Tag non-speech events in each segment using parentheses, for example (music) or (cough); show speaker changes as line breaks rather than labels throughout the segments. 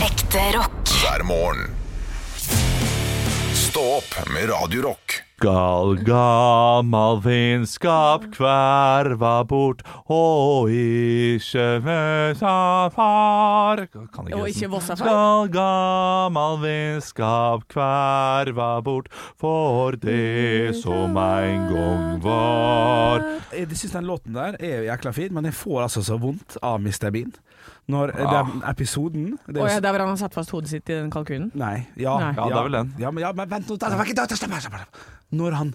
Ekte rock.
hver morgen. Stå opp med Radio Rock.
Skal gammal vennskap kverva bort og ikke vessa far Kan ikke
Og
resten.
ikke vossa far.
Skal gammal vennskap kverva bort for det som en gang var
Jeg syns den låten der er jo jækla fin, men jeg får altså så vondt av Mr. Bean. Når eh, den episoden det er
Å
jo
ja,
s-
der hvor han har satt fast hodet sitt i den kalkunen.
Nei. Ja,
Nei.
Ja, det er vel den.
Ja, men, ja, men vent nå da, da, vent, da, da, slapp av, slapp av. Når han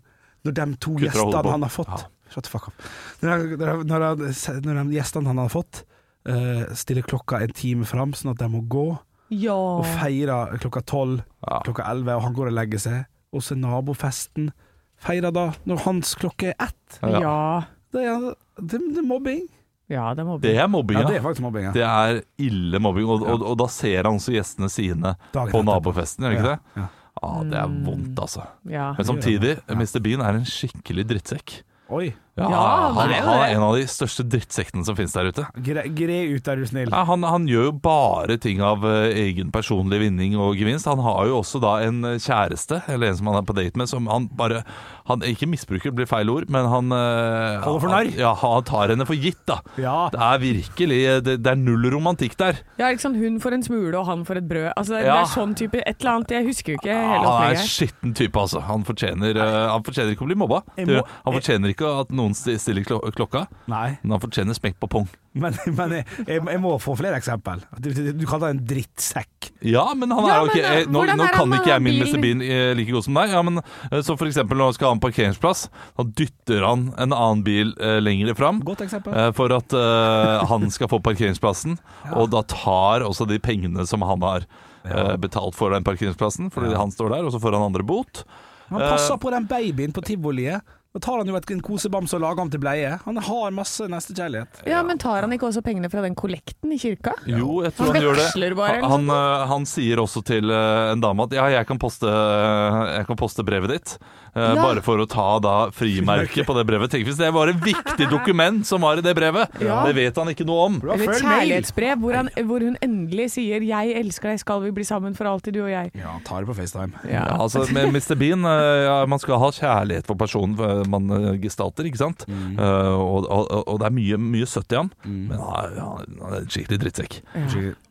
Når de to
Kutter av hodet
gjestene
på.
han har fått Shut the fuck up. Når, han- når, han- når, han- når de gjestene han har fått, eh, stiller klokka en time fram, sånn at de må gå,
Ja.
og feirer klokka tolv,
Ja.
klokka elleve, og han går og legger seg, og så er nabofesten Feirer da når hans klokke er ett.
Ja.
Det er, det, det er mobbing.
Ja, det må bli.
Det er mobbing,
Ja, det
ja.
er faktisk mobbing. Ja.
Det er ille mobbing, og, og, og da ser han også gjestene sine
Dagen
på
etterpå.
nabofesten, gjør han ikke det?
Ja.
Ja, det er vondt, altså.
Ja.
Men samtidig, Mr. Bean er en skikkelig drittsekk.
Oi.
Ja,
Ja, han
han,
er jo
han
det.
er en av de største drittsektene som finnes der ute.
Gre, gre ut, er du snill.
Ja, han, han gjør jo bare ting av eh, egen personlig vinning og gevinst. Han har jo også da en eh, kjæreste, eller en som han er på date med, som han bare han, Ikke misbruker, blir feil ord, men han eh,
Holder for narr.
han- Ja, han tar henne for gitt, da.
Ja.
Det er virkelig eh, Det, det er null romantikk der.
ja, ikke sant. Hun får en smule, og han får et brød. Altså, det,
Ja. Ah,
det er sånn type et eller annet. Jeg husker jo ikke
Ja, han er
hele
en
opplegget.
skitten type, altså. Han fortjener, eh, han fortjener ikke å bli mobba.
Jeg
Det gjør
må-
han. Han fortjener ikke at noen sti- stiller klo- klokka,
Nei,
men han fortjener smekk på pung.
men, men jeg, jeg, jeg må få flere eksempel. Du, du, du kaller det en drittsekk.
Ja, men han er
Ja,
jo ikke
men,
eh, Nå,
hvordan
nå
er han
kan
med
ikke jeg min
bil?
Mr. Bean eh, like god som deg. Ja, men eh, Så for eksempel når han skal ha en parkeringsplass, da dytter han en annen bil eh, lengre fram.
Godt eksempel.
eh, For at eh, han skal få parkeringsplassen, og da tar også de pengene som han har eh, betalt for den parkeringsplassen, fordi han står der, og så får han andre bot.
Han passer på den babyen på tivoliet. Da tar han jo et, en kosebamse og lager ham til bleie. Han har masse nestekjærlighet.
Ja, men tar han ikke også pengene fra den kollekten i kirka?
Jo, jeg tror
Han
han, gjør det.
veksler bare, eller
Han, øh, han sier også til øh, en dame at ja, jeg kan poste, øh, jeg kan poste brevet ditt, øh,
Ja.
bare for å ta da frimerket på det brevet. Tenk hvis det var et viktig dokument som var i det brevet!
Ja.
Det vet han ikke noe om.
Eller et
Følg med.
kjærlighetsbrev hvor, han, hvor hun endelig sier 'jeg elsker deg, skal vi bli sammen for alltid, du og jeg'.
Ja, han tar det på FaceTime.
Ja.
Ja, altså med Mr. Bean øh, ja, Man skal ha kjærlighet for personen øh, man øh, gestalter, ikke sant?
Mm,
Eh, og, og, og det er mye, mye søtt i han, men han er- han er en skikkelig drittsekk.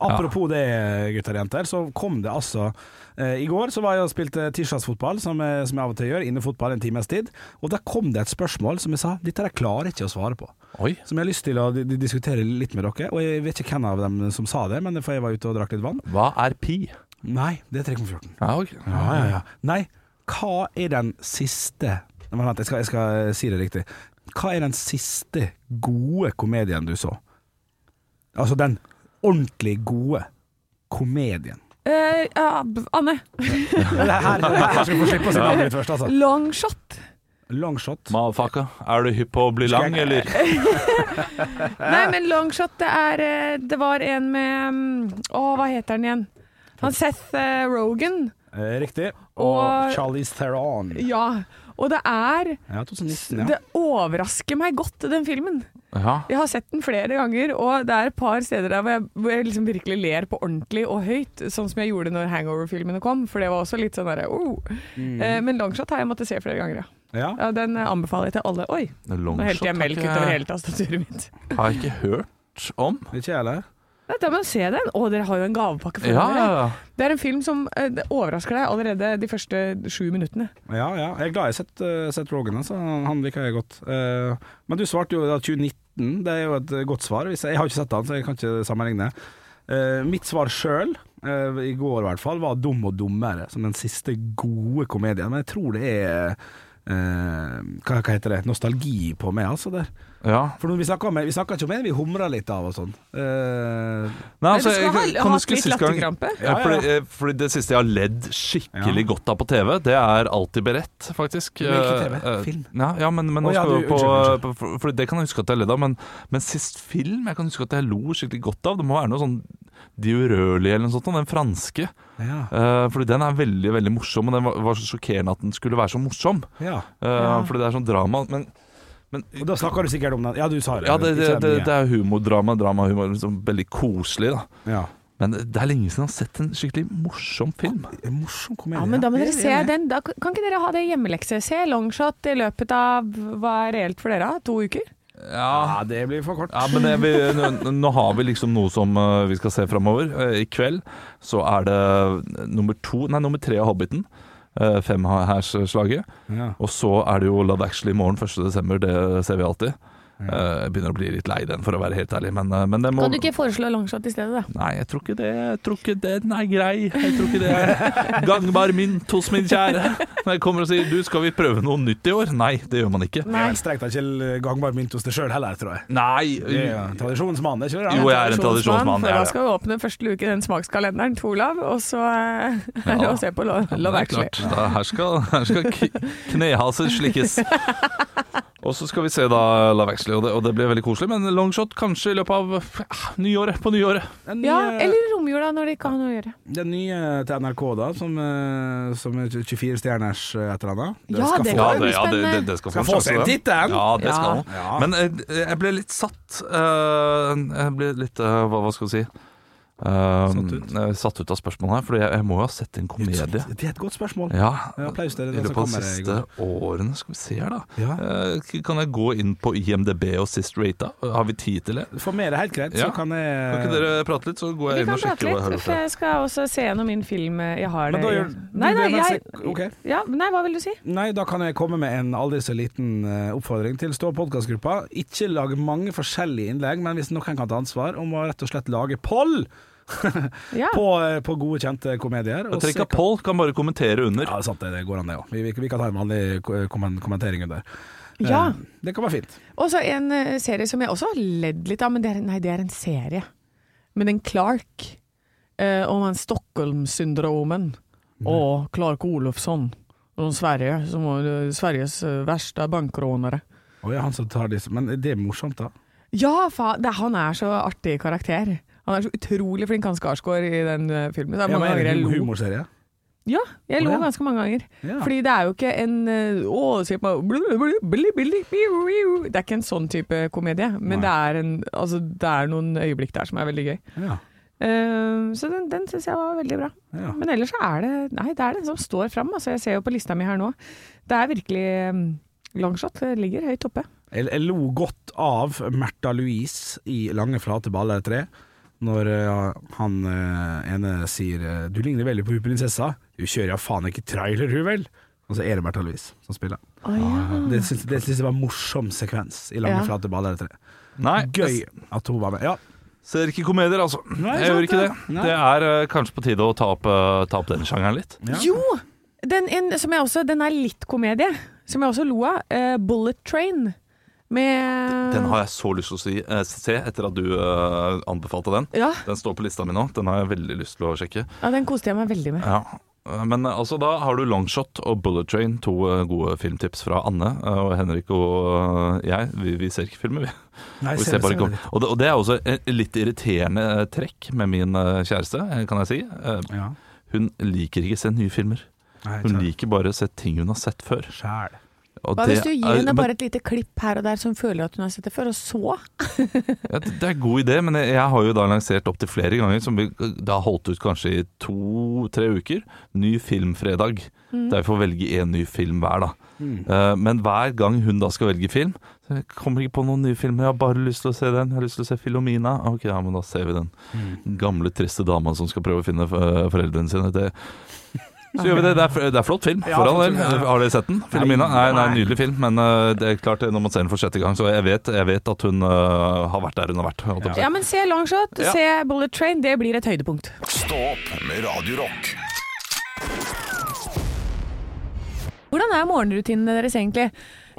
Apropos det, gutter og jenter, så kom det altså eh, I går så var jeg og spilte tirsdagsfotball, som, jeg- som jeg av og til gjør, innefotball en times tid. Og da kom det et spørsmål som jeg sa dette der klarer jeg ikke å svare på.
Oi.
Som jeg har lyst til å di- di- diskutere litt med dere. Og jeg vet ikke hvem av dem som sa det, men for jeg var ute og drakk litt vann.
Hva er pi?
Nei, det er 3,14.
Ja, ok.
Ja, ja, ja. Nei, hva er den siste Men vent, jeg skal, jeg skal eh, si det riktig. Hva er den siste gode komedien du så? Altså den ordentlig gode komedien.
Eh, ja, b- Anne,
Det er her, det er her jeg skal få slippe å si navnet mitt først, altså.
longshot.
Longshot.
Motherfucker, er du hypp på å bli
Skal
lang,
jeg-
eller?
Nei, men longshot, det er eh, Det var en med mm, Å, hva heter den igjen? Han Seth eh, Rogan.
Eh, Riktig. Og,
Og-
Charlize Theron.
Ja. Og det er
Ja, 2019, ja.
Det overrasker meg godt, den filmen.
Ja.
Jeg har sett den flere ganger, og det er et par steder der hvor jeg, hvor jeg liksom virkelig ler på ordentlig og høyt, sånn som jeg gjorde når Hangover-filmene kom, for det var også litt sånn derre oh. Eh, Men Longshot har jeg måttet se flere ganger, ja.
ja.
ja den eh, anbefaler jeg til alle. Oi, nå helte jeg melk utover hele tastaturet mitt.
Har jeg ikke hørt om.
Ikke jeg heller.
Nei, Da må du se den. Å, dere har jo en gavepakke for
Ja, ja,
dere.
ja.
Det er en film som eh, det overrasker deg allerede de første sju minuttene.
Ja, ja. Jeg er glad jeg har sett, eh, sett Rogan, altså. Han han liker jeg godt. Eh, men du svarte jo da 2019. Det er jo et eh, godt svar. Hvis jeg, jeg har ikke sett han, så jeg kan ikke sammenligne. Eh, mitt svar sjøl, i går i hvert fall, var 'Dum og dummere', som den siste gode komedien. Men jeg tror det er eh, hva, hva heter det? Nostalgi på meg, altså. der
ja.
For når vi snakker, om, vi snakker ikke om det, vi humrer litt av og sånn. Eh,
Nei,
Men
altså,
du skal
jeg
ha-
kan
ha
huske
litt
sist gang-
latterkrampe.
Ja,
Ja, ja.
fordi, eh, fordi det siste jeg har ledd skikkelig
Ja.
godt av på TV, det er Alltid beredt, faktisk.
Hvilken TV?
Eh, eh,
Film?
Ja, ja men, men nå
Å, ja,
skal vi
du-
på,
unnskyld,
på for, for det kan jeg huske at jeg ledd av, men, men sist film jeg kan huske at jeg lo skikkelig godt av, det må være noe sånn De urørlige eller noe sånt, den franske.
ja.
Eh, fordi den er veldig, veldig morsom, og den var, var så sjokkerende at den skulle være så morsom.
ja.
Eh, Fordi det er sånn drama. Men, men
Og da snakker du sikkert om den. Ja, du sa det.
ja, det, det,
Ikke
det,
mye.
det er humordrama, drama, humor. Liksom veldig koselig, da.
Ja.
Men det er lenge siden jeg har sett en skikkelig morsom film.
Det er Morsom komedie.
Ja, men da må dere
Helt
se
enig.
den. Da, kan kan ikke dere ha det i hjemmelekse? Se Longshot i løpet av hva er reelt for dere? To uker?
Ja, det blir for kort.
Ja, men det, vi, nå, nå har vi liksom noe som eh, vi skal se framover. I kveld så er det eh, nummer to, nei, nummer tre av Hobbiten. eh, Femhærsslaget.
Ja.
Og så er det jo Love Actually i morgen 1.12., det ser vi alltid. Eh, Jeg begynner å bli litt lei den, for å være helt ærlig, men, eh, men det må
Kan du ikke foreslå Longshot i stedet, da?
Nei, jeg tror ikke det. Jeg tror ikke den er grei. Jeg tror ikke det er gangbar mynt hos min kjære. Når jeg kommer og sier 'du, skal vi prøve noe nytt i år'? Nei, det gjør man ikke.
Det er vel strengt tatt ikke gangbar mynt hos deg sjøl heller, tror jeg.
Nei.
Det er jo en tradisjonsmann, er ikke det?
Jo, jeg er en tradisjonsmann.
For
jeg er
da
det.
skal vi åpne første uke i den smakskalenderen til Olav, og så eh, (laughs) er det
Ja.
å se på Lo-
Ja, det
Love
er
Actually.
klart. Da, her skal, her skal k- knehaser slikkes. Og så skal vi se da Love Actually, og det, og det blir veldig koselig. Men longshot kanskje i løpet av ja, nyåret. På nyåret.
Den nye,
Ja, eller romjula når de ikke har noe å gjøre.
den nye til NRK, da, som, eh, som er 24 stjerners eh, et eller annet.
Ja,
skal
det
få,
kan- blir spennende.
skal,
skal
en
få
sjanse,
seg en
den.
titt, den!
Ja, det skal
Ja.
hun.
Ja.
Men jeg, jeg ble litt satt eh, Jeg ble litt eh, hva, hva skal vi si? satt,
ut?
satt ut av spørsmålet her, for jeg, jeg må jo ha sett en komedie.
Det er et godt spørsmål.
Ja,
Ja, applaus til
I
den som
løpet av de
kommer her i
siste årene. Skal vi se her, da.
Ja.
Eh, k- kan jeg gå inn på IMDb og Sist Rata? Har vi tid til det?
For meg er det helt greit,
Ja.
så kan jeg
Kan ikke dere prate litt, så går
Vi
jeg inn
kan
og
prate
sjekker hva jeg har
litt,
gjort.
for
her.
jeg skal også se gjennom min film eh, jeg har
Men
det
da
i-
gjør du
Nei, nei,
det mens
jeg
jeg- ok.
Ja, nei, hva vil du si?
Nei, da kan jeg komme med en aldri så liten eh, oppfordring til Stå podkastgruppa. Ikke lag mange forskjellige innlegg, men hvis noen kan ta ansvar, om å rett og slett lage poll (laughs)
Ja.
på, eh, på gode, kjente komedier.
Jeg
Og
trenger
se
ikke
hva-
Paul, kan bare kommentere under.
Ja, det er sant, det, det går an, det òg. Vi, vi, vi kan ta en vanlig ko- kommen- kommentering under. Eh,
Ja.
Det kan være fint.
Og så en eh, serie som jeg også har ledd litt av, men det er, nei, det er en serie. Men en Clark eh, om han Stockholm-syndromen
Mm.
og Clark Olofsson om Sverige, som var eh, Sveriges eh, verste bankrånere.
Å ja, han som tar disse Men det er morsomt, da.
Ja, fa det, han er så artig karakter. Han er så utrolig flink, han Skarsgård, i den eh, filmen. Det er
Ja,
mange
men er
ganger
det
jeg
en
lo.
humorserie?
Ja, jeg lo
Å, ja.
ganske mange ganger.
Ja.
Fordi det er jo ikke en eh, Å, se på meg blu, blu, blu, blu, blu, blu. Det er ikke en sånn type komedie, men det er, en, altså, det er noen øyeblikk der som er veldig gøy.
Ja.
Eh, så den, den syns jeg var veldig bra.
Ja.
Men ellers så er det Nei, det er den som står fram. Altså, jeg ser jo på lista mi her nå. Det er virkelig um, longshot. Det ligger høyt oppe.
Jeg, jeg lo godt av Märtha Louise i 'Lange, flate baller tre', når eh, han eh, ene sier eh, 'du ligner veldig på hun prinsessa', 'hun kjører ja faen ikke trailer, hun vel'? Og så er det Märtha Louise som spiller. Det syns det syns jeg var en morsom sekvens i
Ah.
'Lange,
Ja.
flate baller tre'.
Nei,
Gøy at hun var med. Ja,
Ser ikke komedier, altså.
Nei,
jeg gjør
sant
ikke det.
det. Nei.
Det er eh, kanskje på tide å ta opp, eh, ta opp den sjangeren litt.
Ja.
Jo! Den, en, som jeg også, den er litt komedie, som jeg også lo av. eh, Bullet Train. Med
Den har jeg så lyst til å si, eh, se etter at du eh, anbefalte den.
ja,
Den står på lista mi nå. Den har jeg veldig lyst til å sjekke.
ja, den koste jeg meg veldig med.
Ja. Eh, Men eh, altså, da har du Longshot og Bullet Train, to eh, gode filmtips fra Anne. eh, Og Henrik og eh, jeg, vi, vi ser ikke filmer, vi.
Nei,
Og, vi
ser
ser
det,
bare
ser
ikke om-
det.
og, det, og det er også et litt irriterende eh, trekk med min eh, kjæreste, eh, kan jeg si. Eh,
Ja.
Hun liker ikke å se nye filmer.
Nei,
Hun liker bare å se ting hun har sett før.
sjæl.
Og
Hva
det
hvis du
er-
gir henne
men-
bare et lite klipp her og der som føler at hun har sett det før, og så?
(laughs) Ja, det det er en god idé, men jeg, jeg har jo da lansert opptil flere ganger, som vi, det har holdt ut kanskje i to-tre uker, ny filmfredag.
Mm.
Der vi får velge én ny film hver, da. Eh, men hver gang hun da skal velge film så jeg kommer ikke på noen nye filmer, jeg har bare lyst til å se den. Jeg har lyst til å se Filomena. Ok, ja, men da ser vi den.
Mm.
Gamle, triste dama som skal prøve å finne eh, foreldrene sine. Det. Så gjør vi det. Det er, f- det er flott film.
Ja,
for all
flott
del.
film, ja.
Har dere sett den? Filomena? Nei,
Nei.
nei, nydelig film. Men eh, det er klart, eh, når man ser den for sjette gang, så jeg vet, jeg vet at hun eh, har vært der hun har vært. holdt jeg på å si.
Ja, men se Longshot,
Ja.
se Bullet Train. Det blir et høydepunkt.
Stå opp med Radio Rock.
Hvordan er morgenrutinene deres egentlig?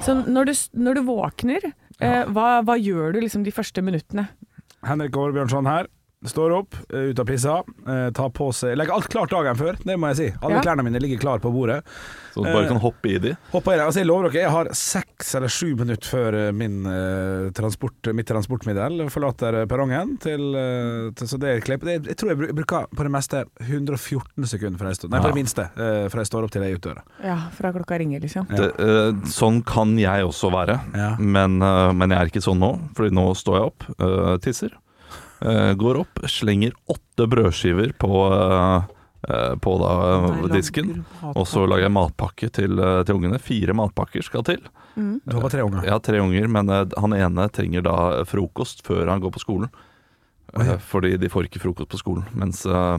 Sånn, når, du, s- når du våkner, eh, hva, hva gjør du liksom de første minuttene?
Henrik Årbjørnson her. Står opp, eh, ut av pissa, eh, tar på seg Legger alt klart dagen før, det må jeg si. Alle
Ja.
klærne mine ligger klar på bordet.
Sånn at du bare kan hoppe i de.
Hoppa i det. Altså, jeg lover dere, jeg har seks eller sju minutter før eh, min, eh, transport, mitt transportmiddel forlater eh, perrongen. Til, eh, til, så det er klipp. Jeg, jeg tror jeg bru- bruker på det meste 114 sekunder fra jeg står Nei,
Ja.
på det minste eh, fra jeg står opp til jeg er ute døra.
Ja, fra klokka ringer, liksom.
Ja.
Det, eh, sånn kan jeg også være,
Ja.
men, eh, men jeg er ikke sånn nå. Fordi nå står jeg opp, eh, tisser, eh, går opp, slenger åtte brødskiver på, eh, eh, på da, eh, disken. Og så lager jeg matpakke til, eh, til ungene. Fire matpakker skal til.
Du har bare tre unger.
Jeg har tre unger, men eh, han ene trenger da frokost før han går på skolen.
Oi.
Eh, Fordi de får ikke frokost på skolen. Mens, eh,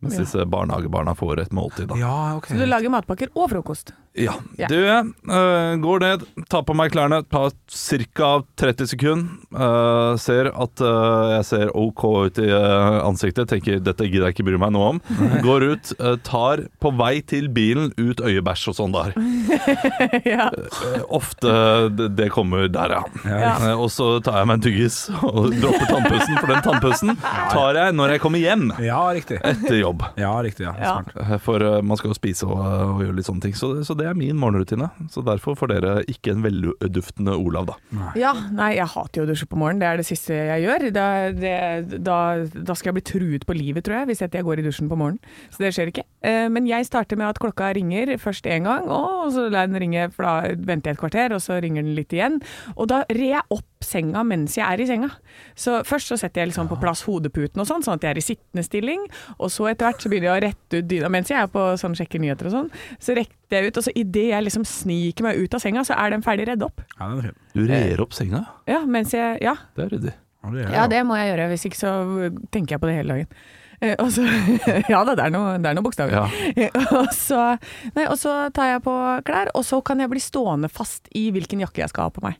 mens
Ja.
disse barnehagebarna får et måltid, da.
Ja, ok.
Så du lager matpakker og frokost?
Ja.
Ja.
Du eh, går ned, tar på meg klærne, tar ca. 30 sekunder. eh, ser at eh, jeg ser OK ut i eh, ansiktet, tenker 'dette gidder jeg ikke bry meg noe om'. Går ut, eh, tar på vei til bilen ut øyebæsj og sånn der.
(laughs) ja.
Eh, ofte det, det kommer der, ja.
Ja.
Eh, og så tar jeg meg en tyggis og (laughs) dropper tannpussen, for den tannpussen tar jeg når jeg kommer hjem
ja, riktig.
etter jobb.
Ja, riktig. Ja.
Ja.
Smart.
Eh, For eh, man skal jo spise og, eh, og gjøre litt sånne ting. Så, så det er min morgenrutine. Så derfor får dere ikke en velduftende Olav, da.
ja. Nei, jeg hater jo å dusje på morgenen. Det er det siste jeg gjør. Da, det, da, da skal jeg bli truet på livet, tror jeg, hvis jeg går i dusjen på morgenen. Så det skjer ikke. Eh, Men jeg starter med at klokka ringer først én gang, og så lar jeg den ringe, for da venter jeg et kvarter, og så ringer den litt igjen. Og da rer jeg opp senga mens jeg er i senga. Så først så setter jeg liksom på plass hodeputen og sånn, sånn at jeg er i sittende stilling. Og så etter hvert så begynner jeg å rette ut dyna mens jeg er på sånn sjekker nyheter og sånn. Så rekte jeg ut, og så idet jeg liksom sniker meg ut av senga, så er den ferdig redd opp.
Ja, den er fin.
Du rer opp senga.
Ja, mens jeg Ja.
Det er ryddig.
Ja, det gjør
Ja,
jeg,
det må jeg gjøre. Hvis ikke så tenker jeg på det hele dagen. Eh, og så, (laughs) ja da, det er noe- det er noen bokstaver.
Ja.
(laughs) og, så, nei, og så tar jeg på klær, og så kan jeg bli stående fast i hvilken jakke jeg skal ha på meg.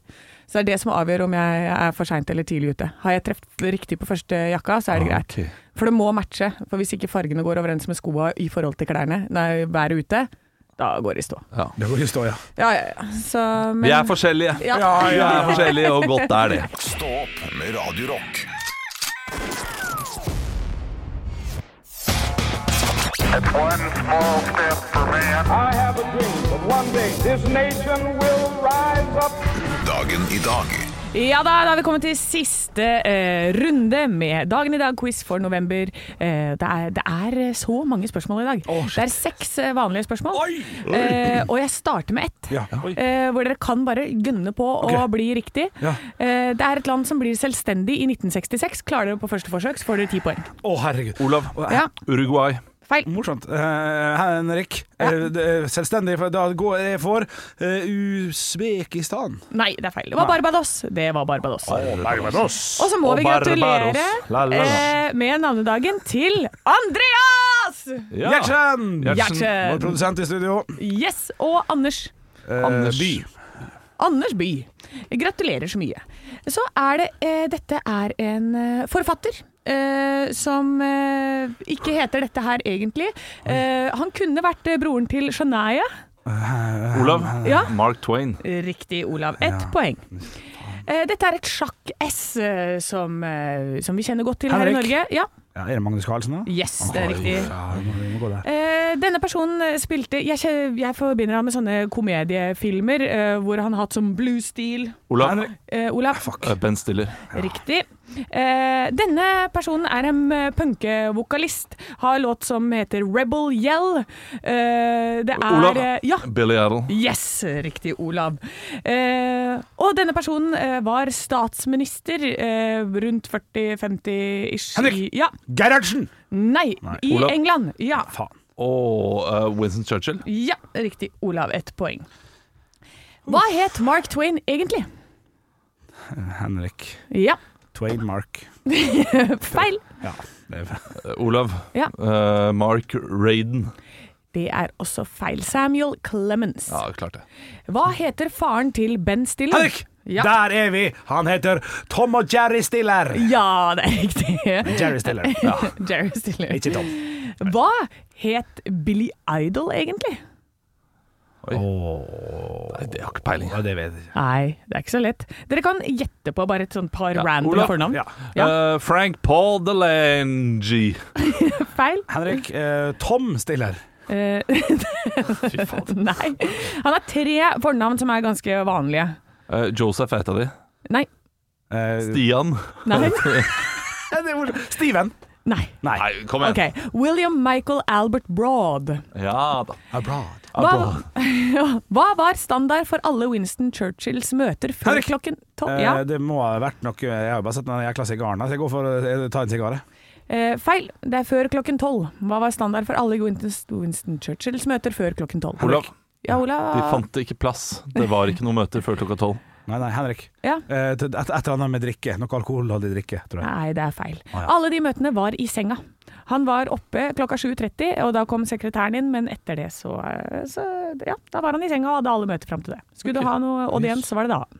Så det er det som avgjør om jeg er for seint eller tidlig ute. Har jeg truffet riktig på første jakka, så er det greit.
Ok.
For det må matche. For hvis ikke fargene går overens med skoa i forhold til klærne, nei, været ute, da går det i stå.
Ja.
Det går i stå, ja.
Ja, ja, ja. Så, men,
Vi er forskjellige.
Ja.
Vi er forskjellige, og godt er det.
Stå opp med Radio Rock.
It's one small step for man.
I have a dream that one day this nation will rise up.
Dagen i dag.
Ja da, da har vi kommet til siste eh, runde med Dagen i dag-quiz for november. Eh, det, er, det er så mange spørsmål i dag. det er seks eh, vanlige spørsmål. Eh, og jeg starter med ett.
Ja. Oi.
Eh, hvor dere kan bare gønne på å
Ok.
bli riktig.
Ja.
Eh, det er et land som blir selvstendig i 1966. Klarer dere på første forsøk, så får dere ti poeng.
Å, herregud.
Olav.
Ja,
Uruguay.
feil.
Morsomt. Eh, Henrik, eh, det er selvstendig, for da går jeg for eh, Usbekistan.
Nei, det er feil. Det var Barbados. Det var Barbados.
Barbados.
Og så må
Og
vi gratulere
Barbados. La, la, la.
eh, med navnedagen til Andreas!
Ja.
Gjertsen! Vår
Gjertsen.
produsent i studio.
Yes, og Anders.
Eh,
Anders.
By.
Anders By. Gratulerer så mye. Så er det eh, Dette er en eh, forfatter. eh, som eh, ikke heter dette her egentlig. Eh, han kunne vært eh, broren til Shania.
Olav.
Ja.
Mark Twain.
Riktig, Olav. Ett poeng. Eh, dette er et sjakk-S eh, som, eh, som vi kjenner godt til her i
Henrik.
Norge. Ja,
Ja, er det Magnus Carlsen, da?
yes, det er riktig.
Ja, vi må, vi må gå der.
Eh, denne personen spilte Jeg, kje- jeg forbinder ham med sånne komediefilmer eh, hvor han har hatt som blues-stil.
Olav.
Henrik.
Eh, Olav,
Eh, Ben Stiller.
riktig. Eh, denne personen er en eh, punkevokalist. Har låt som heter Rebel Yell. Eh, det er
Olav.
eh, Ja.
Billy Idol.
Yes, riktig, Olav. Eh, og denne personen eh, var statsminister eh, rundt 40-50-ish.
Henrik.
Ja.
Gerhardsen!
Nei, i
Olav.
England. Ja.
Faen.
Og eh, Winston Churchill.
Ja, riktig. Olav, ett poeng. Hva het Mark Twain egentlig?
Henrik.
Ja,
Twain Mark.
feil.
Ja, det er (laughs)
Eh, Olav.
Ja.
Eh, Mark Raiden.
Det er også feil. Samuel Clemens.
Ja, klart det.
Hva heter faren til Ben Stiller?
Henrik!
Ja.
Der er vi! Han heter Tom og Jerry Stiller.
ja, det er riktig.
Jerry Stiller.
(laughs)
Ja,
Jerry Stiller.
ikke Tom.
Hva het Billy Idol egentlig?
Nei, det har ikke peiling.
Ja, det vet jeg ikke.
Nei, det er ikke så lett. Dere kan gjette på bare et sånt par random
Olav.
fornavn.
Ja.
Eh, Frank Paul Delange.
Feil.
Henrik. eh, Tom Stiller.
Eh, (laughs) Nei. Han har tre fornavn som er ganske vanlige.
Eh, Joseph er et av de.
Nei.
Eh,
Stian.
Nei.
ja, det er morsomt. Steven.
Nei.
Nei.
Nei, kom igjen.
Ok, William Michael Albert Broad.
Ja da.
Abroad.
Hva, (laughs) ja, hva var standard for alle Winston Churchills møter før
Henrik!
klokken tolv? Ja,
Eh, Det må ha vært noe Jeg har jo bare sett den jækla sigaren. her, Så jeg går for å eh, ta en sigar. jeg.
eh, feil. Det er før klokken tolv. Hva var standard for alle Winston, Winston Churchills møter før klokken tolv?
Olav,
Ja, Olav.
de fant ikke plass. Det var ikke noe møte før klokka tolv.
Nei, nei, Henrik.
Ja.
Eh, til- Et et eller annet med drikke. Noe alkoholholdig drikke, tror jeg.
Nei, det er feil.
Å, ja.
Alle de møtene var i senga. Han var oppe klokka 7.30, og da kom sekretæren inn, men etter det så, eh, så Ja, da var han i senga og hadde alle møter fram til det. Skulle du ha noe audiens, så var det da.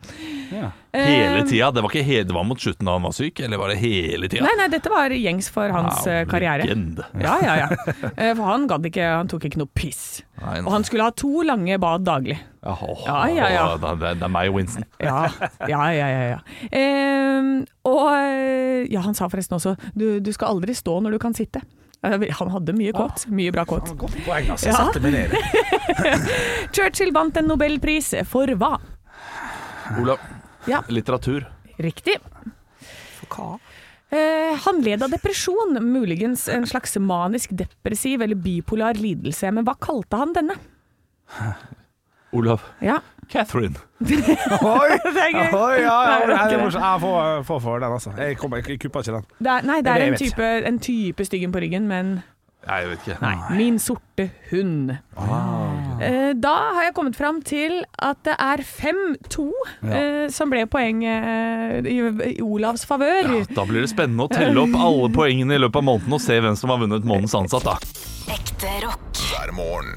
Ja.
Hele
Eh,
tida. Det var ikke he- det var mot slutten da han var syk, eller var det hele tida?
Nei, nei, dette var gjengs for hans eh, karriere.
Legende.
Ja, ja, ja. (laughs) Eh, For han gadd ikke, han tok ikke noe piss.
Nei,
Og han skulle ha to lange bad daglig.
Ja, åh,
Ja, ja, ja.
åh, Det, det, det er meg og Winston.
Ja, ja, ja. ja, ja. Ehm, og eh, ja, han sa forresten også du, du skal aldri stå når du kan sitte. Eh, Han hadde mye kåt. Mye bra kåt.
Ah, Godt poeng, altså. Jeg
Ja.
setter meg ned.
(laughs) Churchill vant en nobelpris for hva?
Olav,
Ja.
litteratur.
Riktig. For hva? han led av depresjon, muligens en slags manisk depressiv eller bipolar lidelse. Men hva kalte han denne?
Olav.
Ja,
Catherine.
Oi!
(laughs) det er gøy.
Oi, ja, ja,
Nei, det var
ja, det
ikke
er
det.
morsomt. Jeg får, får for den, altså. Jeg, kommer, jeg kupper ikke den.
Det er, nei, det er
Det er
en
det jeg vet.
type, en type styggen på ryggen, men
Nei, Ah, jeg vet ikke.
nei, min sorte hund. Eh, Da har jeg kommet fram til at det er 5-2 eh, som ble poenget i i Olavs favør.
Ja, da blir det spennende å telle opp alle poengene i løpet av måneden og se hvem som har vunnet månedens ansatt, da.
Ekte rock.
hver morgen.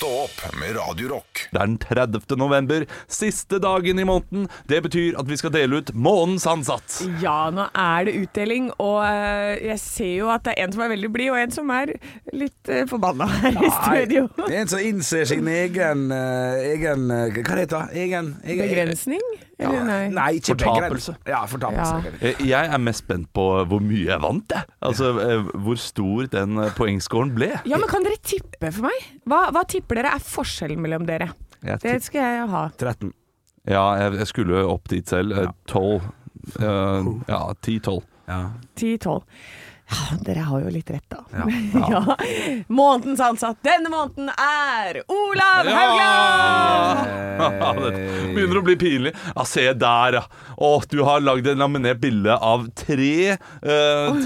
Stå opp med Radio Rock.
Det er den 30. november, siste dagen i måneden. Det betyr at vi skal dele ut månedens ansatt.
Ja, nå er det utdeling, og eh, jeg ser jo at det er en som er veldig blid, og en som er litt eh, forbanna her i studio.
(laughs)
Nei, en som innser sin egen, eh, egen eh, Hva det heter det? Egen, egen
Begrensning? Eller nei?
Nei, ikke
Fortapelse.
begrens- Ja, fortapelse.
Eh, Jeg er mest spent på eh, hvor mye jeg vant, jeg. Altså eh, hvor stor den eh, poengscoren ble.
Ja, men kan dere tippe for meg? Hva, hva tipper dere er forskjellen mellom dere?
Jeg,
Det
tipp-
skal jeg ha.
(laughs) 13.
ja, jeg, jeg skulle opp dit selv. Eh, 12. Eh, ja, 10-12.
Ja.
10-12. Ja, dere har jo litt rett, da. (laughs) Ja. Månedens ansatt denne måneden er Olav Haugland!
det
Eh.
begynner å bli pinlig. Ja, se der, ja. Å, du har lagd en laminert bilde av tre, eh,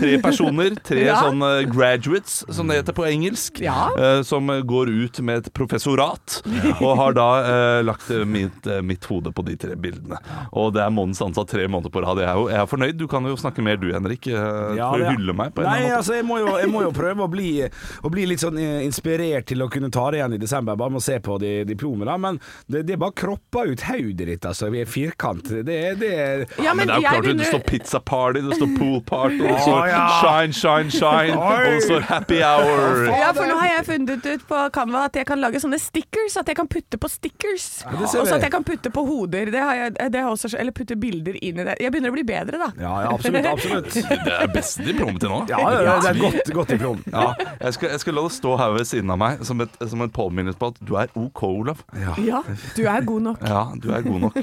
tre personer. Tre
Ja.
sånne graduates, som det heter på engelsk.
Ja.
eh, som går ut med et professorat. Og har da eh, lagt mitt, eh, mitt hode på de tre bildene. Og det er månedens ansatt tre måneder på rad. Jeg er, jo, jeg er fornøyd. Du kan jo snakke mer du, Henrik. eh, for å
det-
hylle meg på en
Nei,
eller annen måte.
altså, jeg må, jo, jeg må jo prøve å bli, å bli litt sånn eh, inspirert til å kunne ta det igjen i desember, bare med å se på de diplomene. da. Men det, det bare kropper ut hodet ditt, altså. Vi er firkant. Det er det er-
Ja,
Men det er jo
jeg
klart det
begynner-
står pizza party, det står pool party, det står
Å, ja.
shine, shine, shine, og det står happy hour.
Ja, for nå har jeg funnet ut på Canva at jeg kan lage sånne stickers. At jeg kan putte på stickers.
det
og
ser vi.
så at jeg kan putte på hoder. Det har jeg, det har jeg også, eller putte bilder inn i det. Jeg begynner å bli bedre, da.
Ja, ja, absolutt. absolutt.
Det er beste diplomet til nå.
Ja, ja, ja, det er et godt, godt diplom.
Ja, jeg, skal, jeg skal la det stå her ved siden av meg som, et, som en påminnelse på at du er OK, Olav. Ja.
Ja, du er god nok.
du er god nok.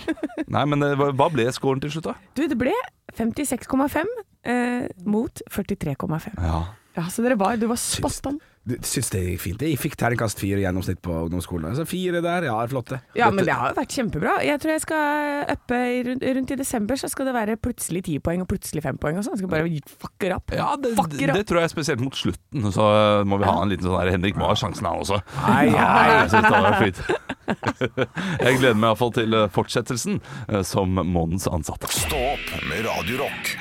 Nei, men eh, hva hva ble scoren til slutt, da?
Du, det ble 56,5 eh, mot 43,5.
Ja.
Ja, så dere var, du var spot on.
Du syns det gikk fint? Jeg fikk terningkast fire i gjennomsnitt på ungdomsskolen. Så fire der, ja, er flott det.
Ja, men det har jo vært kjempebra. Jeg tror jeg skal uppe i rundt, rundt i desember, så skal det være plutselig 10 poeng og plutselig 5 poeng og sånn. Jeg Skal bare fucker opp.
det,
fucker opp.
det tror jeg spesielt mot slutten. Så eh, må vi ha en liten sånn her Henrik må ha sjansen, han også.
Nei,
Nei,
nei.
jeg synes det var fint. (laughs) Jeg gleder meg iallfall til eh, fortsettelsen eh, som månedens ansatte.
Stå opp med Radio Rock.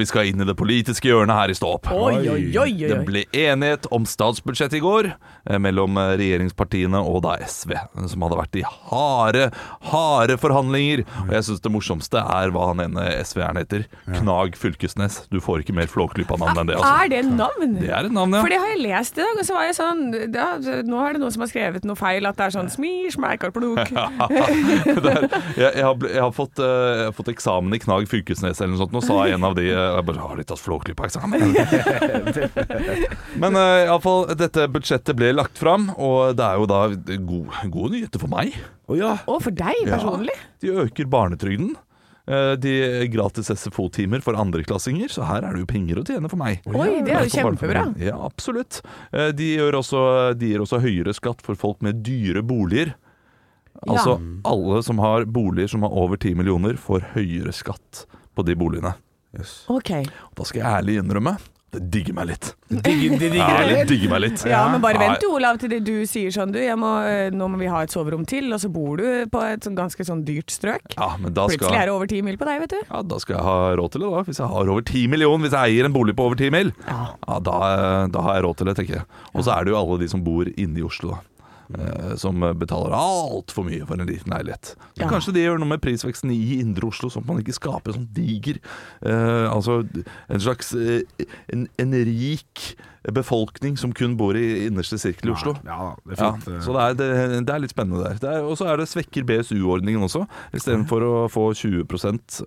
Vi skal inn i det politiske hjørnet her i Stå opp.
Oi, oi, oi, oi.
Det ble enighet om statsbudsjettet i går eh, mellom eh, regjeringspartiene og da SV, eh, som hadde vært i harde, harde forhandlinger. Og jeg syns det morsomste er hva han ene SV-eren heter. Knag Fylkesnes. Du får ikke mer Flåklypa-navn enn det, altså.
Er det navn?
Det er et navn, ja.
For det har jeg lest i dag, og så var jeg sånn ja, Nå er det noen som har skrevet noe feil, at det er sånn smir, smerkar,
(laughs)
plok.
Det er- jeg, jeg, har, bl- jeg, har fått, eh, jeg har fått eksamen i Knag Fylkesnes eller noe sånt. Nå sa en av de eh, jeg bare, Har de tatt Flåklypa-eksamen? Men eh, i alle fall, dette budsjettet ble lagt fram, og det er jo da gode, gode nyheter for meg.
Å ja.
Og for deg
Ja.
personlig?
De øker barnetrygden. eh, de gratis SFO-timer for andreklassinger, så her er det jo penger å tjene for meg.
Oi, det er jo
For
kjempebra.
barnefamilien. Ja, absolutt. Eh, De gir også, de gir også høyere skatt for folk med dyre boliger. Altså alle som har boliger som har over 10 millioner, får høyere skatt på de boligene.
Ok.
Da skal jeg ærlig innrømme det digger meg litt.
Digger, de digger
Ja,
det
det
litt.
digger meg litt.
Ja, men bare
Nei,
vent du, Olav, til det du sier sånn du, jeg må, eh, nå må vi ha et soverom til, og så bor du på et sånn ganske sånn dyrt strøk.
Ja, men da
Plutselig er
skal,
det over ti mil på deg, vet du.
ja, da skal jeg ha råd til det, da. Hvis jeg har over 10 millioner, hvis jeg eier en bolig på over 10 mill.,
Ja.
ja, da, eh, da har jeg råd til det, tenker jeg. Og så er det jo alle de som bor inne i Oslo, da. eh, Som betaler altfor mye for en liten leilighet. Så
Mm. Ja.
Kanskje det gjør noe med prisveksten i indre Oslo, sånn at man ikke skaper en sånn diger eh, Altså en slags eh, en, en rik befolkning som kun bor i innerste sirkel i Oslo.
Ja, da, det er eh.
Ja,
fint.
så det er, det, det er litt spennende der. Det er- Og så er det svekker BSU-ordningen også. Istedenfor å få 20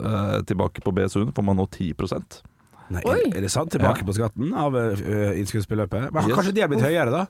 eh, tilbake på BSU-en, får man nå 10
Nei,
Oi.
er det sant? Tilbake på skatten av ø, ø, innskuddsbeløpet? Men
Yes.
Kanskje de er blitt høyere, da?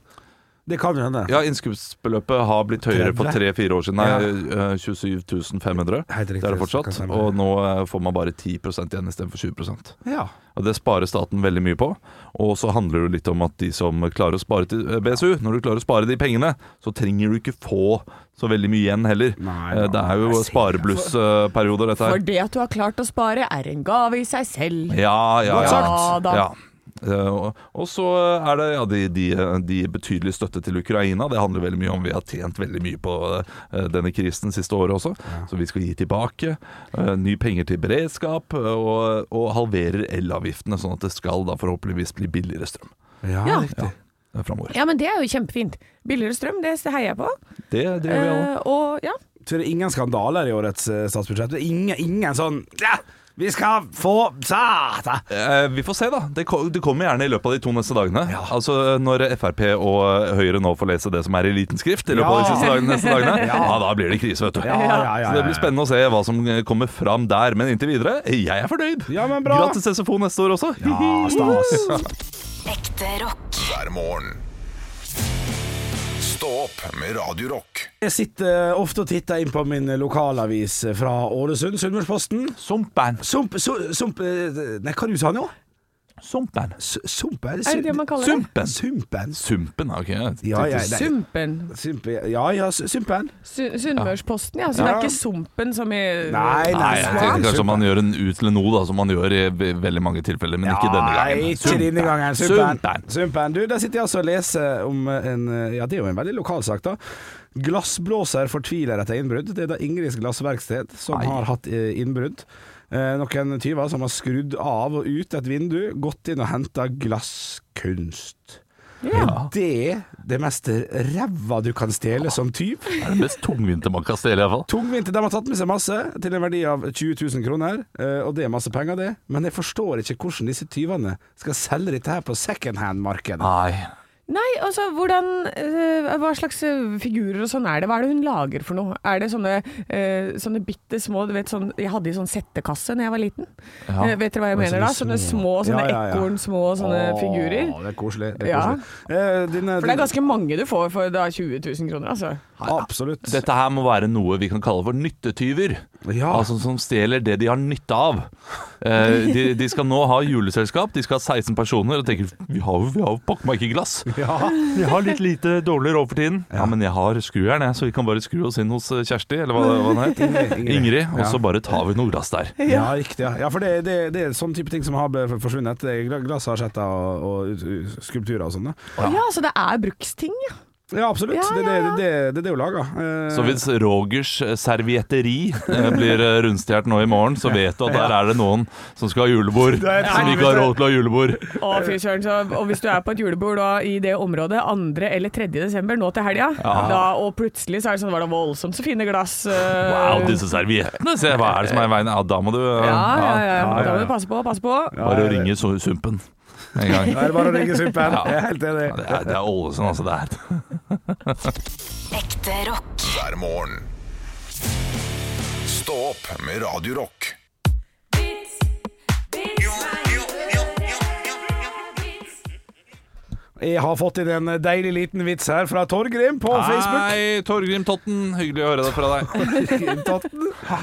Det kan jo hende.
Ja, innskuddsbeløpet har blitt høyere for
30.
tre-fire år siden. Nei,
Ja.
eh, 27 500.
Helt riktig,
Det er det
så kan
fortsatt.
det være.
Og nå eh, får man bare 10 igjen istedenfor 20
Ja.
Og Det sparer staten veldig mye på. Og så handler det litt om at de som klarer å spare til eh, BSU, når du klarer å spare de pengene, så trenger du ikke få så veldig mye igjen heller.
Nei,
Eh, det
da,
er jo
jeg ser-
spareblussperioder, dette her.
For det at du har klart å spare er en gave i seg selv.
Ja, ja,
Godt
ja.
sagt. Ja da.
ja. Eh, og- Og så er det ja, de, de, de betydelige støtte til Ukraina. Det handler veldig mye om Vi har tjent veldig mye på eh, denne krisen siste året også, så vi skal gi tilbake. Eh, Ny penger til beredskap, eh, og, og halverer elavgiftene, sånn at det skal da forhåpentligvis bli billigere strøm
Ja,
Ja.
riktig.
eh, framover.
Ja, men det er jo kjempefint. Billigere strøm, det heier jeg på.
Det driver vi alle.
Eh, og ja,
Så det er ingen skandaler i årets ø, statsbudsjett? Det er Ingen, ingen sånn ja, Vi skal få sata!
Eh, Vi får se, da. Det, ko- det kommer gjerne i løpet av de to neste dagene. Altså Når Frp og Høyre nå får lese det som er i liten skrift i løpet av de
Ja.
siste dagene, neste
(laughs)
dagene, ja.
Ja.
da blir det krise, vet du.
Ja, ja, ja, ja,
Så det blir
ja.
spennende å se hva som eh, kommer fram der. Men inntil videre, jeg er fornøyd.
Ja, men bra.
Gratis SFO neste år også.
Ja, stas.
(laughs)
Ekte rock.
hver morgen. Stå opp med Radio Rock.
Jeg sitter ofte og titter inn på min lokalavis fra Ålesund, Sunnmørsposten.
Sumpen.
Sump, su- sump eh, Nei, hva du sa du nå?
Sumpen.
S- Sump? Er det,
er det det man kaller det?
Sumpen.
Sumpen.
Sumpen, ok.
Ja, ja, nei.
Sumpen.
Sump, ja, ja, s- sumpen.
Su Sunnmørsposten, ja. Så det
Ja.
er ikke sumpen som i
Nei,
Nei, jeg tenkte kanskje
Sumpen.
man gjør en ut til nå, da, som man gjør i ve- veldig mange tilfeller, men ikke denne gangen.
Nei, ikke denne gangen. Sumpen.
Sumpen.
Sumpen. Du, der sitter jeg altså og leser om eh, en Ja, det er jo en veldig lokal sak, da. Glassblåser fortviler etter innbrudd. Det er da Ingrids glassverksted som
Nei.
har hatt eh, innbrudd. Eh, noen tyver som har skrudd av og ut et vindu, gått inn og henta glasskunst. Er det det mest ræva du kan stjele som tyv?
Det er det mest tungvinte man kan stjele, iallfall.
Tungvint. De har tatt med seg masse, til en verdi av 20 000 kroner. eh, Og det er masse penger, det. Men jeg forstår ikke hvordan disse tyvene skal selge dette her på secondhand-markedet.
Nei.
Nei, altså hvordan eh, Hva slags eh, figurer og sånn er det? Hva er det hun lager for noe? Er det sånne, uh, sånne bitte små du vet, sånn, Jeg hadde i sånn settekasse da jeg var liten.
Ja.
Eh, vet dere hva jeg
Og
mener da? Sånne små, sånne
Ja, ja, ja.
ekorn, små sånne
Åh,
figurer.
Det er koselig. Det er
Ja.
koselig. Eh, denne-
For det er ganske mange du får for da 20 000 kroner, altså.
Absolutt.
Dette her må være noe vi kan kalle for nyttetyver.
Ja.
Altså Som stjeler det de har nytte av. Eh, de, de skal nå ha juleselskap, de skal ha 16 personer og tenker Vi har jo- vi har jo pokker meg ikke glass.
Ja.
Vi har litt lite dårlig råd for tiden. Ja, men jeg har skrujern, jeg, så vi kan bare skru oss inn hos eh, Kjersti, eller hva, hva den het.
Ingrid.
Ingrid. Og
Ja.
så bare tar vi noe glass der.
Ja, riktig. Ja, ja for det, det, det er sånn type ting som har be- forsvunnet. Det er gla- Glass, asjetter og, og ut- skulpturer og sånn. da.
Ja. så det er bruksting, ja.
Ja, absolutt.
Ja,
Det, det,
ja, ja.
det, det, det er det hun lager. Eh,
Så hvis Rogers eh, servietteri eh, blir eh, rundstjålet nå i morgen, så vet du at der er det noen som skal ha (laughs) julebord,
er et
som ikke har råd til å ha julebord.
Å, fy søren. så- Og hvis du er på et julebord da, i det området 2. eller 3. desember nå til helga, da, og plutselig så er det sånn, var det voldsomt så fine glass. eh,
Wow, disse serviettene! Se, hva er det som er i veien? Ja, da må du eh,
Ja, ja, ja.
ja.
Da må du passe på, passe på.
Bare å ringe Su- Sumpen en gang.
Da er det bare å ringe Sumpen.
(laughs) Ja.
Jeg er helt enig.
Ja, Det er, det er Ålesund, altså. Det er
Ekte rock.
hver morgen. Stå opp med Radio Rock.
Jeg har fått inn en deilig liten vits her fra Torgrim på Facebook.
Hei, Torgrim Totten, hyggelig å høre det fra deg. (laughs)
Totten.
Ja,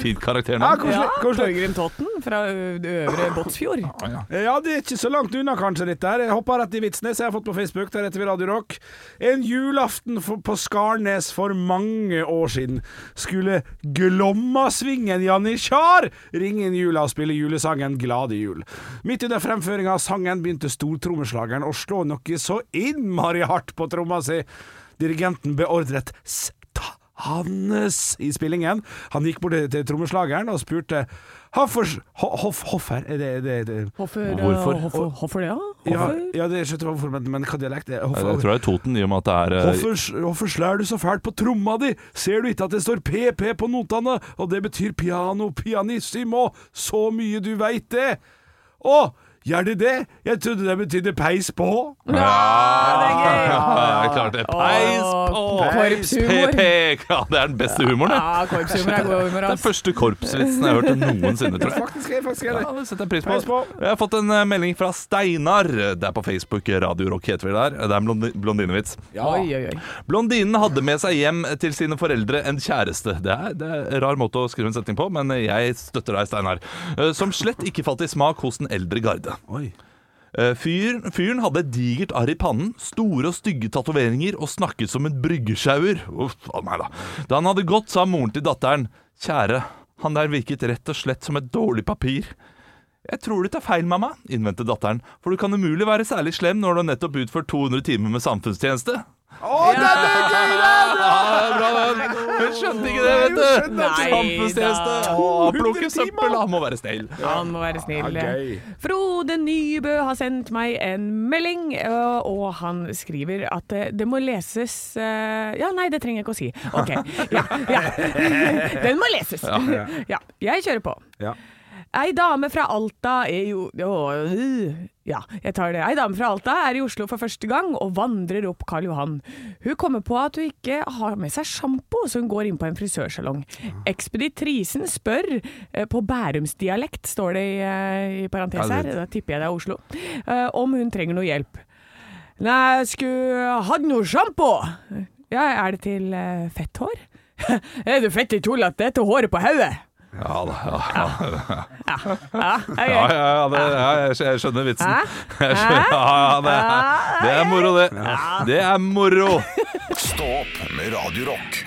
Fint
Ja,
karakternavn.
koselig. koselig.
Torgrim Totten fra ø- Øvre Båtsfjord.
Ja, det er ikke så langt unna kanskje dette her. Jeg hopper rett i vitsene som jeg har fått på Facebook. Der heter vi Radio Rock. En julaften for, på Skarnes for mange år siden skulle Glommasvingen Janitsjar ringe inn jula og spille julesangen Glade jul. Midt under fremføringa av sangen begynte stortrommeslageren å slå noe så innmari hardt på tromma si. Dirigenten beordret Sta! Hannes i spillingen. Han gikk bort til trommeslageren og spurte Hoffers, ho, hoff, Hoffer er det, det, det.
Hvorfor, ø,
Hvorfor?
hvorfor, hvorfor det, da?
Ja,
Hvorfor?
ja, det skjønte jeg hvorfor, men, men hva dialekt er det?
Jeg tror
Hvorfor-
det er Toten, i og med at det er eh,
Hvorfor, hvorfor slår du så fælt på tromma di? Ser du ikke at det står PP på notene, og det betyr piano pianissimo? Så mye du veit det! Å, gjør det det? Jeg trodde det betydde peis på.
Ja, det er gøy!
Ja, klart det. Peis på!
Åh, korpshumor.
PP! Ja, det er den beste humoren, det.
Ja, korpshumor er god humor,
Den
ass.
første korpsvitsen jeg har hørt noensinne, tror jeg.
Faktisk er faktisk er
Ja,
det.
det setter jeg pris på.
Pris på.
Jeg har fått en eh, melding fra Steinar. Det er på Facebook, Radio Rock heter vi der. Det er en blondi- blondinevits.
Oi, oi, oi.
Blondinen hadde med seg hjem til sine foreldre en kjæreste. Det er, det er en rar måte å skrive en setning på, men jeg støtter deg, Steinar. Eh, Som slett ikke falt i smak hos den eldre garde.
Oi.
Eh, Fyren, fyren hadde et digert arr i pannen, store og stygge tatoveringer og snakket som en bryggesjauer. Uff, å nei da. Da han hadde gått, sa moren til datteren Kjære, han der virket rett og slett som et dårlig papir. Jeg tror du tar feil, mamma, innvendte datteren, for du kan umulig være særlig slem når du har nettopp utført 200 timer med samfunnstjeneste.
Å, den er gøy!
Ja, det er bra, det. Hun skjønte ikke det, vet
Nei,
du.
hun skjønte
det ikke.
Samfunnstjeneste.
Nei da.
Å, Plukke
200 timer.
søppel. Han må være snill.
Han må være snill.
Ja, gøy.
Frode Nybø har sendt meg en melding, ø, og han skriver at ø, det må leses ø, Ja, nei, det trenger jeg ikke å si. OK. Ja, ja. (laughs) Den må leses. Ja. Jeg kjører på.
Ja.
Ei dame fra Alta er jo å, øh, Ja, jeg tar det. Ei dame fra Alta er i Oslo for første gang og vandrer opp Karl Johan. Hun kommer på at hun ikke har med seg sjampo, så hun går inn på en frisørsalong. Ekspeditrisen spør, eh, på bærumsdialekt står det i, eh, i parentes her, da tipper jeg det er Oslo, eh, om hun trenger noe hjelp. Nei, jeg skulle hatt noe sjampo. Ja, er det til eh, fett hår? (laughs) er du fett i tull at det er til håret på hodet?
Ja da. Ja, ja.
Ja, okay.
Ja, ja, ja, det, ja jeg skj- jeg skjønner vitsen.
Hæ?
(laughs) Jeg skjønner, ja, ja, det, er- det er moro, det. Det er moro.
Stå opp med Radio Rock.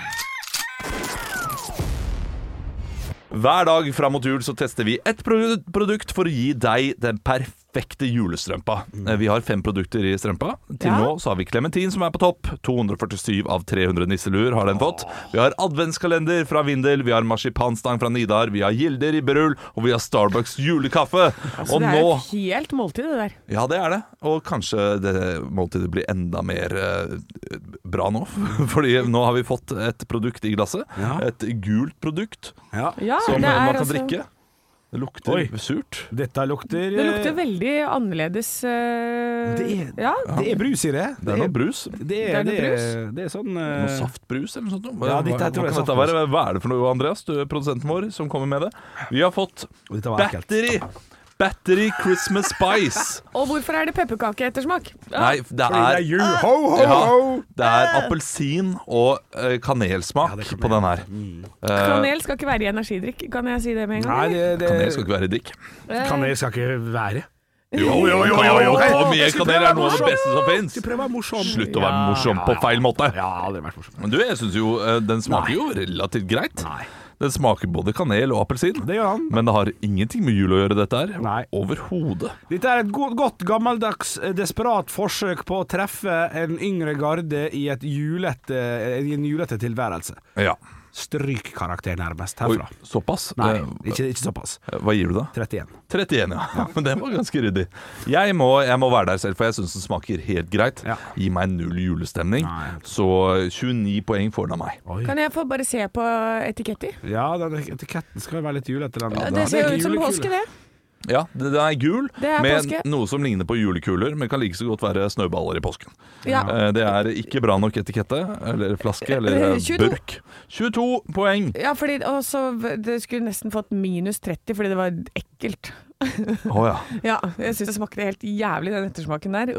Hver dag fram mot jul så tester vi ett produ- produkt for å gi deg den perfekte julestrømpa. Eh, Vi har fem produkter i strømpa. Til
Ja.
nå så har vi klementin som er på topp. 247 av 300 nisseluer har den fått. Vi har adventskalender fra Vindel, vi har marsipanstang fra Nidar, vi har Gilder i Berull, og vi har Starbucks julekaffe. og
Altså, det er
nå
et helt måltid, det der.
Ja, det er det. Og kanskje det måltidet blir enda mer eh, bra nå. (laughs) Fordi nå har vi fått et produkt i glasset.
Ja.
Et gult produkt
Ja.
Ja,
som
det
eh,
er
man kan
altså-
drikke. Det lukter
Oi.
surt.
Dette lukter
Det lukter veldig annerledes eh,
Det er-
ja.
Det er brus i det.
Det er noe brus.
Det er, det
Det er noe
er, det er sånn eh,
Noe saftbrus eller noe sånt. Hva,
Ja, dette
hva, hva,
tror jeg er
kan dette
saftbrus.
være? hva er det for noe, Andreas? Du er produsenten vår som kommer med det. Vi har fått
Dette var ekkelt.
battery! Battery Christmas Spice.
Og hvorfor er det pepperkakeettersmak?
Nei, det
Fordi det
er
er jul. Ho, ho,
Ja,
ho!
det er appelsin og eh, kanelsmak på den her.
Mm.
Eh,
Kanel skal ikke være i energidrikk, kan jeg si det med en gang?
Nei,
eller?
det, det
kanel skal ikke være i dick.
Eh,
Kanel skal ikke være.
Jo, jo, jo, jo, jo. Og mye kanel er noe av det beste som fins.
Skal prøve å være morsom.
Slutt å være morsom på feil måte.
Ja, det har vært morsomt.
Men du, jeg syns jo eh, den smaker jo relativt greit.
Nei.
Den smaker både kanel og appelsin.
Det gjør han.
Men det har ingenting med jul å gjøre, dette
Nei.
her. Overhodet.
Dette er et godt, godt gammeldags eh, desperat forsøk på å treffe en yngre garde i, et julete, eh, i en julete tilværelse.
Ja.
Stryk karakter nærmest
Oi,
herfra.
såpass?
Nei,
Eh,
ikke, ikke såpass.
Hva gir du, da?
31.
31, ja. (laughs) Men den var ganske ryddig. Jeg må, jeg må være der selv, for jeg syns den smaker helt greit.
Ja.
Gi meg null julestemning.
Nei.
Så 29 poeng får den av meg.
Oi.
Eh, Kan jeg få bare se på etiketter?
Ja, den etiketten skal jo være litt julete. Den,
det
er
ser jo ut som
julekule.
påske, det.
Ja, den er gul,
Det er
med
påske.
noe som ligner på julekuler, men kan like så godt være snøballer i påsken.
Ja.
Eh, Det er ikke bra nok etikette, eller flaske, eller
Eh,
eh,
22.
burk. 22 poeng!
Ja, fordi og så v- Det skulle nesten fått minus 30 fordi det var ekkelt.
Å ja.
Ja, jeg syns det smakte helt jævlig, den ettersmaken der.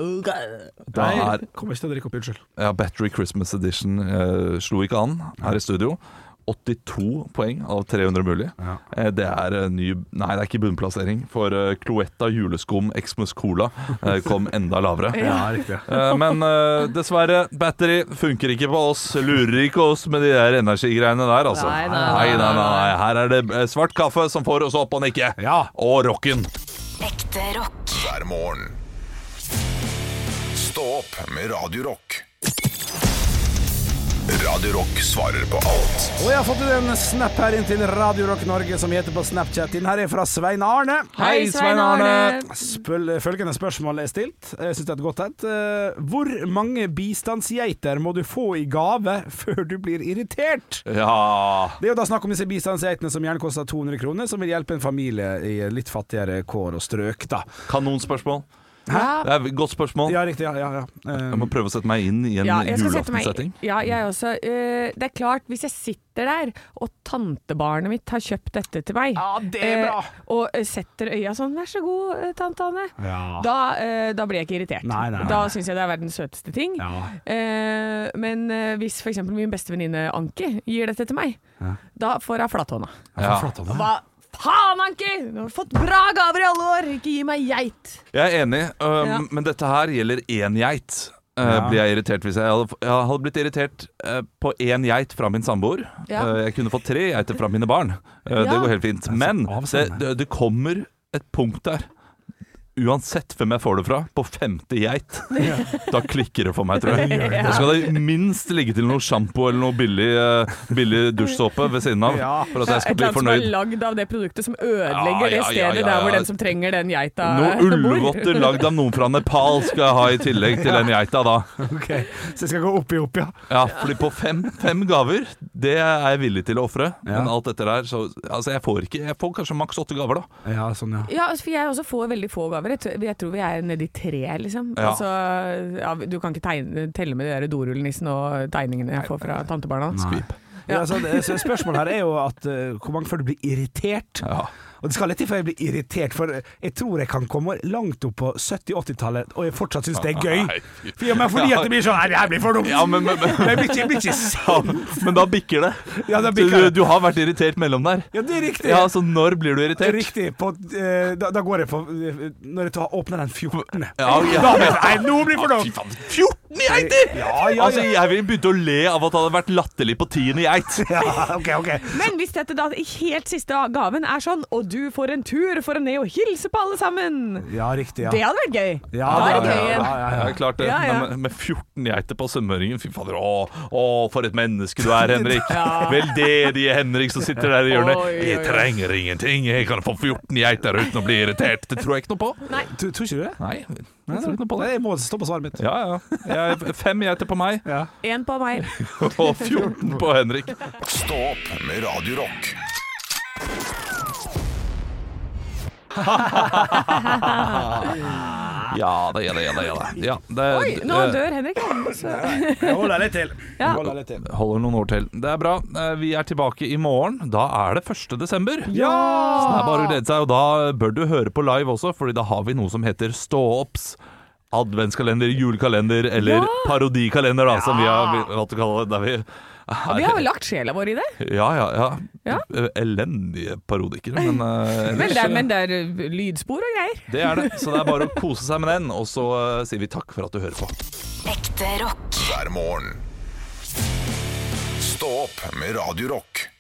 Da er
Kommer ikke til å drikke opp, unnskyld.
ja, Battery Christmas Edition eh, slo ikke an her i studio. 82 poeng av 300 mulig.
Ja.
Eh, det er eh, ny Nei, det er ikke bunnplassering, for eh, Cloetta juleskum Xmus Cola eh, kom enda lavere.
Ja, riktig.
Eh, Men eh, dessverre, battery funker ikke på oss. Lurer ikke oss med de der energigreiene der, altså.
Nei, nei, nei,
nei, nei. Her er det eh, svart kaffe som får oss opp og nikke.
Ja.
Og rocken.
Ekte rock.
hver morgen. Stå opp med Radio Rock. Radio Rock svarer på alt
Og jeg har fått en snap her inn til Radio Rock Norge, som heter på Snapchat. Den her er fra Svein Arne.
Hei, Svein Arne.
Spøl, følgende spørsmål er stilt. Jeg synes det er et godt et. Eh, Hvor mange bistandsgeiter må du få i gave (laughs) før du blir irritert?
Ja
Det er jo da snakk om disse bistandsgeitene som gjerne koster 200 kroner, som vil hjelpe en familie i litt fattigere kår og strøk, da.
Kanonspørsmål.
Ja.
Det er et godt spørsmål.
Ja, riktig. Ja, ja. ja. Eh,
Jeg må prøve å sette meg inn i en
Ja, jeg skal sette meg
julaftensetting.
Ja, jeg også. Eh, det er klart, hvis jeg sitter der, og tantebarnet mitt har kjøpt dette til meg
Ja, det er
eh,
bra.
Og eh, setter øya sånn 'vær så god, eh, tante Anne',
Ja.
da, eh, da blir jeg ikke irritert.
Nei, nei, nei.
Da syns jeg det er verdens søteste ting.
Ja.
Eh, men eh, hvis f.eks. min beste venninne Anki gir dette til meg, da får jeg flathånda.
Ja, for flott, altså. Anne.
Hva faen, Anki! Du har fått bra gaver i alle år! Ikke gi meg geit!
Jeg er enig, øhm,
Ja.
men dette her gjelder én geit. Eh, Blir jeg irritert hvis jeg hadde, jeg hadde blitt irritert eh, på én geit fra min samboer.
Ja.
Eh, jeg kunne fått tre geiter fra mine barn. Eh, Det
Ja.
går helt fint. Men det,
avsender.
det, det kommer et punkt der. Uansett hvem jeg får det fra, på femte geit, da klikker (laughs) det for meg, tror jeg. Da skal det minst ligge til noe sjampo eller noe billig, eh, billig dusjsåpe ved siden av,
Ja.
for at jeg
Et
skal
eller
bli
annet som er
fornøyd.
lagd av det produktet som ødelegger
Ja, ja,
det stedet
ja, ja,
der hvor
ja.
den som trenger den geita (laughs)
Noe
bor.
ullvotter lagd av noen fra Nepal skal jeg ha i tillegg til den geita, da.
Ok, Så jeg skal gå opp i opp, ja.
Ja, fordi på fem, fem gaver, det er jeg villig til å ofre.
Ja.
Men alt dette der, så Altså, jeg får ikke Jeg får kanskje maks åtte gaver, da.
Ja, sånn, ja.
Ja, altså, for jeg også får veldig få gaver. Jeg tror, jeg tror vi er nede i tre, liksom.
Ja.
Altså, ja, du kan ikke tegne, telle med de der dorullnissen og tegningene jeg får fra tantebarna.
Skvip. Ja. altså, det- så spørsmålet her er jo at eh, hvor mange før du blir irritert.
Ja.
Og det skal litt til før jeg blir irritert, for jeg tror jeg kan komme langt opp på 70-80-tallet og jeg fortsatt syns det er gøy.
Nei.
For, ja, men fordi at det blir sånn Nei, det her blir for dumt!
Ja,
(laughs)
men, men, men,
Jeg blir ikke, jeg blir ikke sint.
men da bikker det.
Ja, da
Så
bikker det.
du, du har vært irritert mellom der.
Ja, det er riktig.
Ja, så når blir du
Det er
irritert?
riktig. På, eh, da, da går jeg på eh, Når jeg tar, åpner den 14.
Ja, ja.
Da blir jeg sånn, Nei, nå blir det for
Fy
dumt!
faen, 14 geiter!
Ja, ja,
Altså,
ja.
jeg ville begynt å le av at det hadde vært latterlig på tiende geit.
ja OK, OK.
Men hvis dette da i helt siste gaven er sånn, og du får en tur for å ned og hilse på alle sammen,
Ja, riktig. Ja.
det hadde vært gøy. da
Ja,
er
det
det
hadde-
gøy igjen.
ja, ja,
Ja, klart det.
Ja, ja.
Men med- med 14 geiter på sunnmøringen, fy fader. Å, å, for et menneske du
(laughs)
er, Henrik. Veldedige Henrik som sitter der i hjørnet.
Oi, oi, oi.
Jeg trenger ingenting, jeg kan få 14 geiter uten å bli irritert. Det tror jeg ikke noe på.
Du, tror ikke du det?
Nei, jeg tror ikke noe på
Nei,
det.
Jeg må stå på svaret mitt.
Ja, ja. Jeg, fem geiter på meg
Ja.
En på
(laughs)
meg.
og 14 på Henrik.
Stå opp med Radio Rock
Ja da, ja da, ja da. Ja, da. Ja, det,
Oi, nå
eh,
dør Henrik. Så.
Jeg holder litt til.
Ja.
Jeg holder litt til.
Holder noen år til. Det er bra. Eh, Vi er tilbake i morgen. Da er det 1. desember.
Ja!
Det er bare å glede seg, og da bør du høre på live også, Fordi da har vi noe som heter Ståopps. Adventskalender, julekalender eller parodikalender, da, som vi har valgt å kalle det. Der vi, er,
Vi har vel lagt sjela vår i det.
Ja, ja, ja.
Ja.
Eh, Elendige parodikere, men eh, ellers, eh,
Men det, er- men det er eh, lydspor og greier.
det er det. Så det er bare å kose seg med den, og så eh, sier vi takk for at du hører på.
Ekte rock.
hver morgen. Stå opp med Radio Rock.